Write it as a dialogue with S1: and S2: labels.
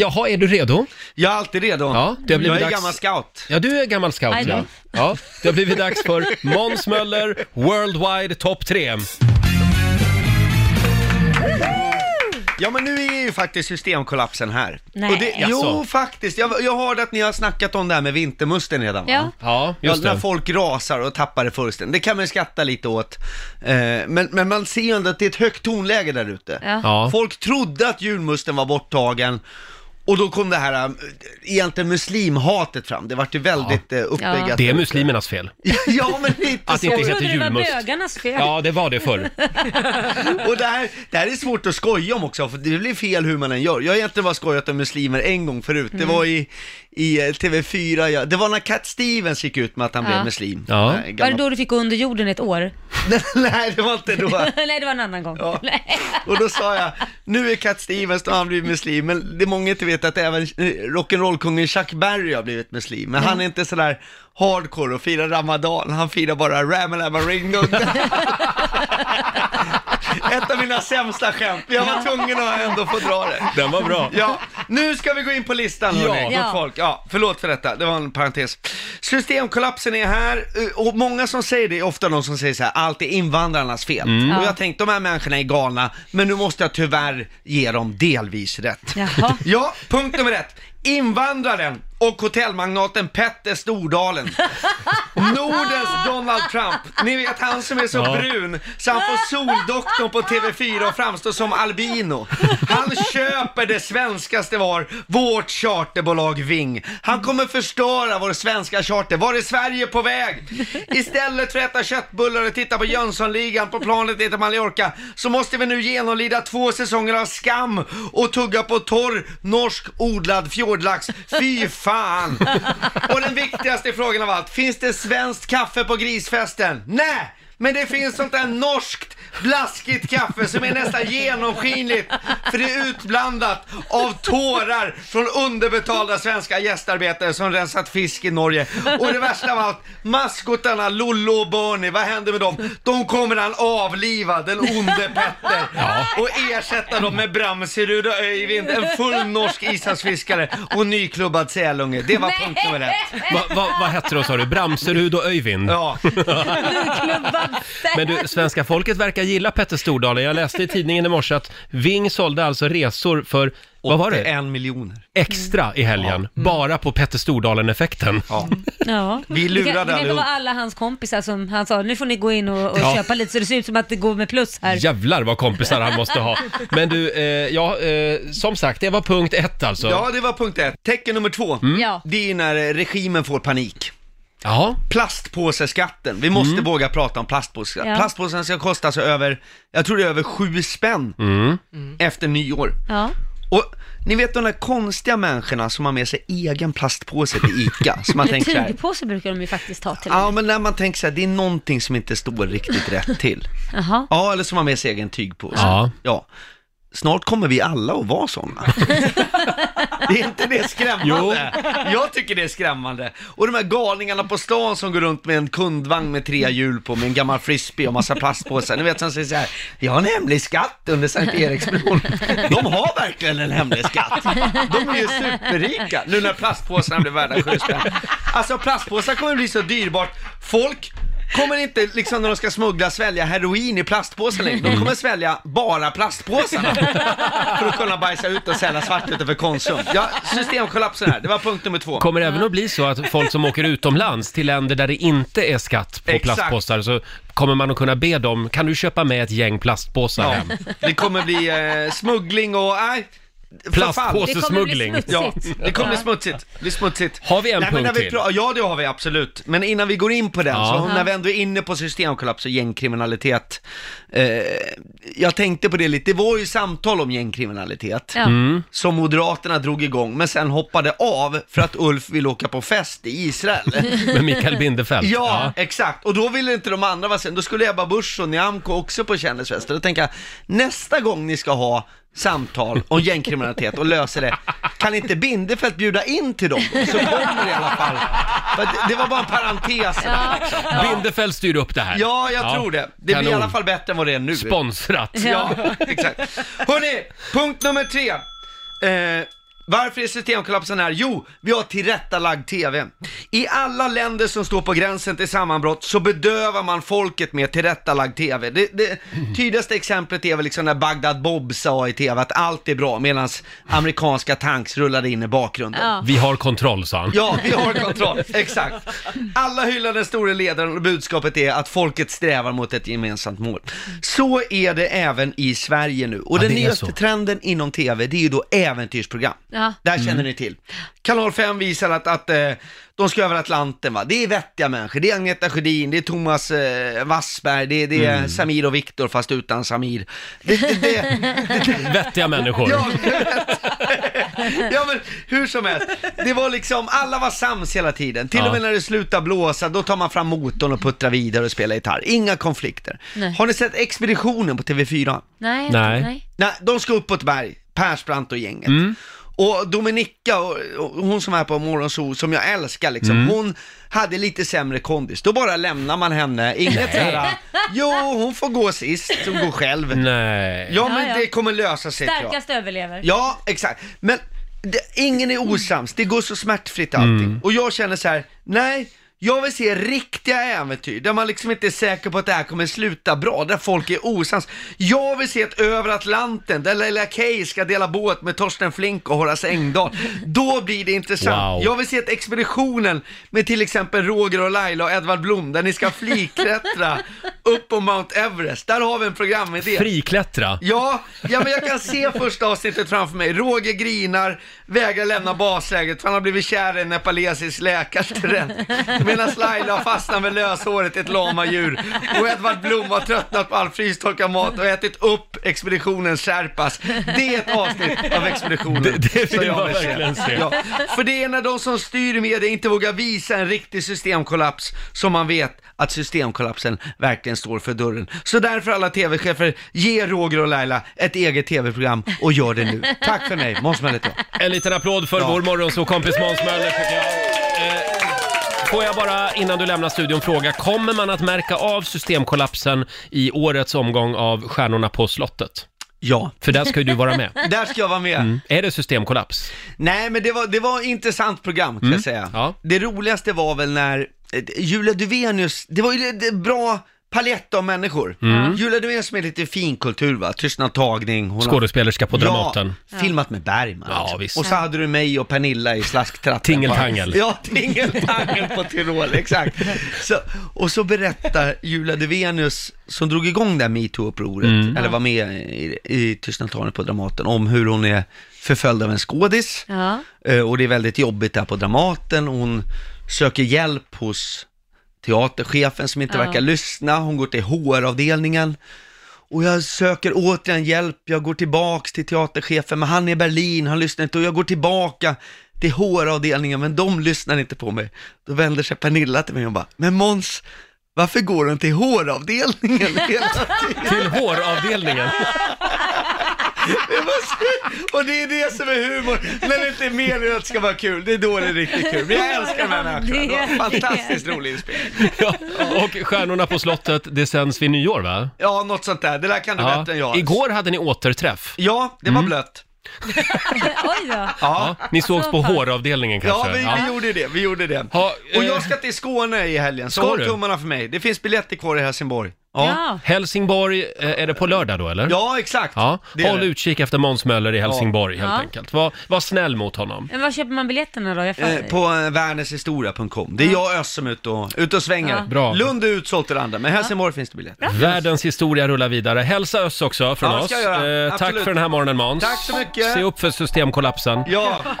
S1: Jaha, är du redo?
S2: Jag är alltid redo.
S1: Ja, det har blivit
S2: jag är
S1: dags.
S2: gammal scout.
S1: Ja, du är gammal scout
S3: Aj då.
S1: ja. ja. Det har blivit dags för Måns Möller Worldwide Top 3.
S2: Ja, men nu är ju faktiskt systemkollapsen här.
S3: Nej.
S2: Och det,
S1: Jaså.
S2: jo, faktiskt. Jag, jag hörde att ni har snackat om det här med vintermusten redan. va?
S3: Ja.
S1: Ja, just
S2: ja, när
S1: det.
S2: folk rasar och tappar det fullständigt. Det kan man ju skratta lite åt. Eh, men, men man ser ju ändå att det är ett högt tonläge där ute.
S3: Ja.
S1: Ja.
S2: Folk trodde att julmusten var borttagen. Och då kom det här, eh, egentligen muslimhatet fram. Det vart ju väldigt ja.
S3: Ja.
S2: uppäggat.
S1: Det är muslimernas fel.
S2: ja, men det är inte
S1: Att
S2: så.
S1: inte
S3: Jag
S1: heter
S3: trodde det var
S1: julmust.
S3: bögarnas fel.
S1: Ja, det var det förr.
S2: Och det här, det här är svårt att skoja om också, för det blir fel hur man än gör. Jag har egentligen bara skojat om muslimer en gång förut. Det
S3: Mm.
S2: var i, i eh, TV4, ja. det var när Cat Stevens gick ut med att han
S3: Ja.
S2: blev muslim.
S1: Ja.
S2: Eh,
S3: Var det
S2: gammal-
S3: då du fick gå under jorden i ett år?
S2: Nej, det var inte då.
S3: Nej, det var en annan gång.
S2: Ja.
S3: Nej.
S2: Och då sa jag, nu är Cat Stevens, då har han blivit muslim, men det många inte vet att även eh, rock'n'roll-kungen Chuck Berry har blivit muslim, men han är inte sådär hardcore och firar ramadan, han firar bara ramalama ringo. Ett av mina sämsta skämt, jag var tvungen att ändå få dra det.
S1: Den var bra.
S2: Ja, nu ska vi gå in på listan
S1: Ja.
S2: hörni,
S3: Ja.
S2: ja. folk. Ja, förlåt för detta, det var en parentes. Systemkollapsen är här Eh, och många som säger det är ofta de som säger så här, allt är invandrarnas fel. Och
S1: Mm.
S3: Ja.
S2: jag tänkte, de här människorna är galna, men nu måste jag tyvärr ge dem delvis rätt.
S3: Jaha.
S2: Ja, punkt nummer ett. Invandraren och hotellmagnaten Petter Stordalen. Nordens Donald Trump. Ni vet han som är så
S1: Ja.
S2: brun så han får Soldoktorn på TV4 och framstår som albino. Han köper det svenskaste var, vårt charterbolag Ving. Han kommer förstöra vår svenska charter. Var är Sverige på väg? Istället för att äta köttbullar och titta på Jönssonligan på planet ner till Mallorca så måste vi nu genomlida två säsonger av skam och tugga på torr norsk odlad fjordlax. Fy fan! Och den viktigaste frågan av allt, finns det svenskt kaffe på grisfesten? Nej! Men det finns sånt där norskt blaskigt kaffe som är nästan genomskinligt för det är utblandat av tårar från underbetalda svenska gästarbetare som rensat fisk i Norge. Och det värsta av allt, maskotarna Lollo och Bernie, vad händer med dem? De kommer han avliva, den onde Petter, och ersätta dem med Bramserud och Öivind, en full norsk ishavsfiskare och nyklubbad sälunge. Det var punkt nummer ett.
S1: Vad va, vad hette de sa du? Bramserud och Öyvind?
S2: Ja.
S3: Klubban.
S1: Men du, svenska folket verkar gilla Petter Stordalen. Jag läste i tidningen i morse att Ving sålde alltså resor för, vad var det?
S2: En miljoner.
S1: Extra i helgen. Bara på Petter Stordalen-effekten.
S2: Ja.
S3: Ja.
S2: Vi lurade
S3: det, kan- det kanske
S2: allihop.
S3: var alla hans kompisar som han sa, nu får ni gå in och, och
S1: Ja.
S3: köpa lite så det ser ut som att det går med plus här.
S1: Jävlar vad kompisar han måste ha. Men du, eh, ja, eh, som sagt, det var punkt ett alltså.
S2: Ja, det var punkt ett. Tecken nummer två,
S3: Ja.
S2: det är ju när eh, regimen får panik.
S1: Jaha.
S2: Plastpåseskatten, vi måste våga prata om plastpåseskatten.
S3: Ja.
S2: Plastpåsen ska kosta alltså över, jag tror det är över sju spänn
S3: Mm.
S2: efter nyår.
S3: Ja.
S2: Och ni vet de där konstiga människorna som har med sig egen plastpåse till ICA, som man
S3: Men
S2: tänker så här,
S3: tygpåse brukar de ju faktiskt ha till och med.
S2: Ja, men när man tänker så här, det är någonting som inte står riktigt rätt till.
S3: Jaha.
S2: Ja, eller som har med sig egen tygpåse.
S1: Ja.
S2: ja. Snart kommer vi alla att vara sådana. det är inte det skrämmande? Jag tycker det är skrämmande. Och de här galningarna på stan som går runt med en kundvagn med tre hjul på, med en gammal frisbee och massa plastpåsar. Ni vet som säger så här, jag har en hemlig skatt under Sankt Eriksbron. De har verkligen en hemlig skatt. De är ju superrika, nu när plastpåsarna blir värda sju spänn. Alltså plastpåsar kommer bli så dyrbart. Folk kommer inte, liksom när de ska smuggla, svälja heroin i plastpåsen längre. De
S1: Mm.
S2: kommer svälja bara plastpåsarna för att kunna bajsa ut och sälja svartvitt för Konsum. Ja, systemkollapsen här, det var punkt nummer två.
S1: Kommer det även att bli så att folk som åker utomlands till länder där det inte är skatt på
S2: Exakt.
S1: plastpåsar så kommer man att kunna be dem, kan du köpa med ett gäng plastpåsar
S2: Ja,
S1: hem?
S2: det kommer bli eh, smuggling och, nej, förfall.
S1: Plastpåse.
S3: Det kommer bli
S1: smuggling.
S3: smutsigt.
S2: Ja, det kommer bli
S3: Ja.
S2: smutsigt. Det blir smutsigt.
S1: Har vi en
S2: Nej, men när
S1: punkt
S2: vi
S1: till?
S2: pra- Ja, det har vi absolut. Men innan vi går in på den,
S1: Ja.
S2: så när vi ändå är inne på systemkollaps och gängkriminalitet. Eh, jag tänkte på det lite, det var ju samtal om gängkriminalitet.
S3: Ja.
S2: som Moderaterna drog igång, men sen hoppade av för att Ulf vill åka på fest i Israel.
S1: Med Mikael Bindefeld?
S2: Ja, exakt. Och då ville inte de andra vara sen. Då skulle Ebba Busch och Nyamko också på kändisfester. Då tänker jag, nästa gång ni ska ha samtal om gängkriminalitet och löser det, kan inte Bindefeld bjuda in till dem? Så kommer det i alla fall. För att det var bara en parentes. Ja,
S1: Ja. Bindefeld styr upp det här.
S2: ja jag tror det. Det blir i
S1: Kanon.
S2: alla fall bättre än vad det är nu.
S1: Sponsrat.
S2: Ja, exakt. Hörrni, punkt nummer tre. Eh, Varför är systemkollapsen här? Jo, vi har tillrättalagd TV. I alla länder som står på gränsen till sammanbrott så bedövar man folket med tillrättalagd TV. Det, det tydligaste exemplet är väl liksom när Bagdad Bob sa i TV att allt är bra medan amerikanska tanks rullade in i bakgrunden.
S3: Ja.
S1: Vi har kontroll, sa han.
S2: Ja, vi har kontroll. Exakt. Alla hyllar den store ledaren och budskapet är att folket strävar mot ett gemensamt mål. Så är det även i Sverige nu. Och
S1: Ja,
S2: den
S1: det är
S2: nyaste
S1: så.
S2: trenden inom TV, det är ju då äventyrsprogram.
S3: Ja.
S2: Där känner
S1: Mm.
S2: ni till. Kanal 5 visar att, att eh, de ska över Atlanten va. Det är vettiga människor. Det är Agneta Sjödin, det är Thomas eh, Wassberg, det, är- det
S1: Mm.
S2: är Samir och Viktor fast utan Samir. Det, det, det,
S1: Vettiga människor.
S2: Ja, jag vet. ja men hur som helst, det var liksom, alla var sams hela tiden. Till
S1: Ja.
S2: och med när det slutar blåsa, då tar man fram motorn och puttrar vidare och spelar gitarr. Inga konflikter.
S3: Nej.
S2: Har ni sett Expeditionen på TV4?
S3: Nej,
S1: Nej.
S3: nej. nej.
S2: Nej, de ska upp på ett berg, Persbrandt och gänget.
S1: Mm.
S2: Och Dominika, och, och hon som är på Morgonzoo, som jag älskar liksom,
S1: Mm.
S2: hon hade lite sämre kondis. Då bara lämnar man henne, inget såhär, jo hon får gå sist, hon går själv.
S1: Nej.
S2: Ja men
S3: Ja, ja.
S2: det kommer lösa sig tror jag.
S3: Starkast överlever.
S2: Ja, exakt. Men det, ingen är osams, det går så smärtfritt allting. Och jag känner så här: nej, jag vill se riktiga äventyr där man liksom inte är säker på att det här kommer sluta bra, där folk är osams. Jag vill se ett över Atlanten där Leila Kay ska dela båt med Torsten Flink och Horace Engdahl. Då blir det intressant.
S1: Wow.
S2: Jag vill se ett expeditionen med till exempel Roger och Laila och Edvard Blom där ni ska fliklättra upp på Mount Everest. Där har vi en programidé.
S1: Friklättra.
S2: Ja, ja, men jag kan se första avsnittet framför mig. Roger grinar, vägrar lämna baslägret för han har blivit kär i en nepalesisk läkarstudent. Medan Laila har fastnat med löshåret i ett lamadjur. Och Edvard Blom har tröttnat på all frystorkad mat och ätit upp expeditionens sherpas. Det är ett avsnitt av expeditionen.
S1: Det- det vill
S2: som
S1: man
S2: se.
S1: verkligen se.
S2: Ja, för det är när de som styr media inte vågar visa en riktig systemkollaps som man vet att systemkollapsen verkligen står för dörren. Så därför alla tv-chefer, ge Roger och Laila ett eget tv-program och gör det nu. Tack för mig, Måns Möller
S1: En liten applåd för
S2: Ja.
S1: vår morgonsåkompis Måns Möller tycker jag. Eh, Får jag bara innan du lämnar studion fråga, kommer man att märka av systemkollapsen i årets omgång av Stjärnorna på slottet?
S2: Ja,
S1: För där ska ju du vara med. Mm.
S2: där ska jag vara med.
S1: Är det systemkollaps?
S2: Nej, men det var, det var ett intressant program kan jag säga.
S1: Mm. ja.
S2: Det roligaste var väl när eh, Julia Duvenius, det var ju det- det bra palett av människor.
S1: Mm.
S2: Julia Duvenius som är lite finkultur va, tystnadtagning. hon har-
S1: Skådespelerska på Dramaten.
S2: Ja, filmat med Bergman.
S1: Ja,
S2: liksom.
S1: visst.
S2: Och så hade du mig och Pernilla i slasktratten.
S1: Tingeltangel.
S2: Ja, tingeltangel på Tyrol, exakt. Så, och så berättar Julia Duvenius, som drog igång det här metoo-upproret,
S1: Mm.
S2: eller var med i, i Tystnadtalet på Dramaten, om hur hon är förföljd av en skådis.
S3: Ja.
S2: Eh, Och det är väldigt jobbigt där på Dramaten. Hon söker hjälp hos teaterchefen som inte
S3: Ja.
S2: verkar lyssna. Hon går till HR-avdelningen. Och jag söker återigen hjälp. Jag går tillbaks till teaterchefen, men han är i Berlin, han lyssnar inte. Och jag går tillbaka till HR-avdelningen, men de lyssnar inte på mig. Då vänder sig Pernilla till mig och bara, men Måns, varför går hon till HR-avdelningen hela tiden?
S1: Till håravdelningen.
S2: Det var så- Och det är det som är humor, när det inte är meningen att det ska vara kul, det är då det är riktigt kul. Men jag älskar de här människorna, det var en fantastiskt rolig inspelning.
S1: Ja. Och Stjärnorna på slottet, det sänds vid nyår va?
S2: Ja, något sånt där, det där kan du
S1: Ja.
S2: bättre än jag.
S1: Igår hade ni återträff.
S2: Ja, det var blöt.
S3: Oj då.
S1: Ja.
S2: Ja,
S1: Ni sågs på
S3: Så pass.
S1: håravdelningen
S2: ja,
S1: kanske?
S2: vi, vi gjorde det, vi gjorde det.
S1: Ha,
S2: Och
S1: eh,
S2: jag ska till Skåne i helgen, så
S1: Ska
S2: håll
S1: du?
S2: tummarna för mig. Det finns biljetter kvar i Helsingborg. Ja,
S3: Ja.
S1: Helsingborg, eh, är det på lördag då eller?
S2: ja exakt.
S1: Ja,
S2: Det är
S1: håll
S2: det.
S1: utkik efter Måns Möller i Helsingborg helt
S3: Ja.
S1: enkelt. Var, var snäll mot honom.
S3: Men var köper man biljetterna då? Jag får...
S2: Eh, På eh, wernershistoria.com. Det är jag och Özz som är ute och, ute och svänger.
S3: Ja.
S1: Bra.
S2: Lund är utsålt till det andra, men Helsingborg finns det biljetter.
S1: Världens historia rullar vidare. Hälsa Özz också från
S2: Ja, det
S1: oss. Eh,
S2: ska jag göra.
S1: tack
S2: Absolut.
S1: för den här morgonen Måns.
S2: Tack så mycket.
S1: Se upp för systemkollapsen.
S2: Ja.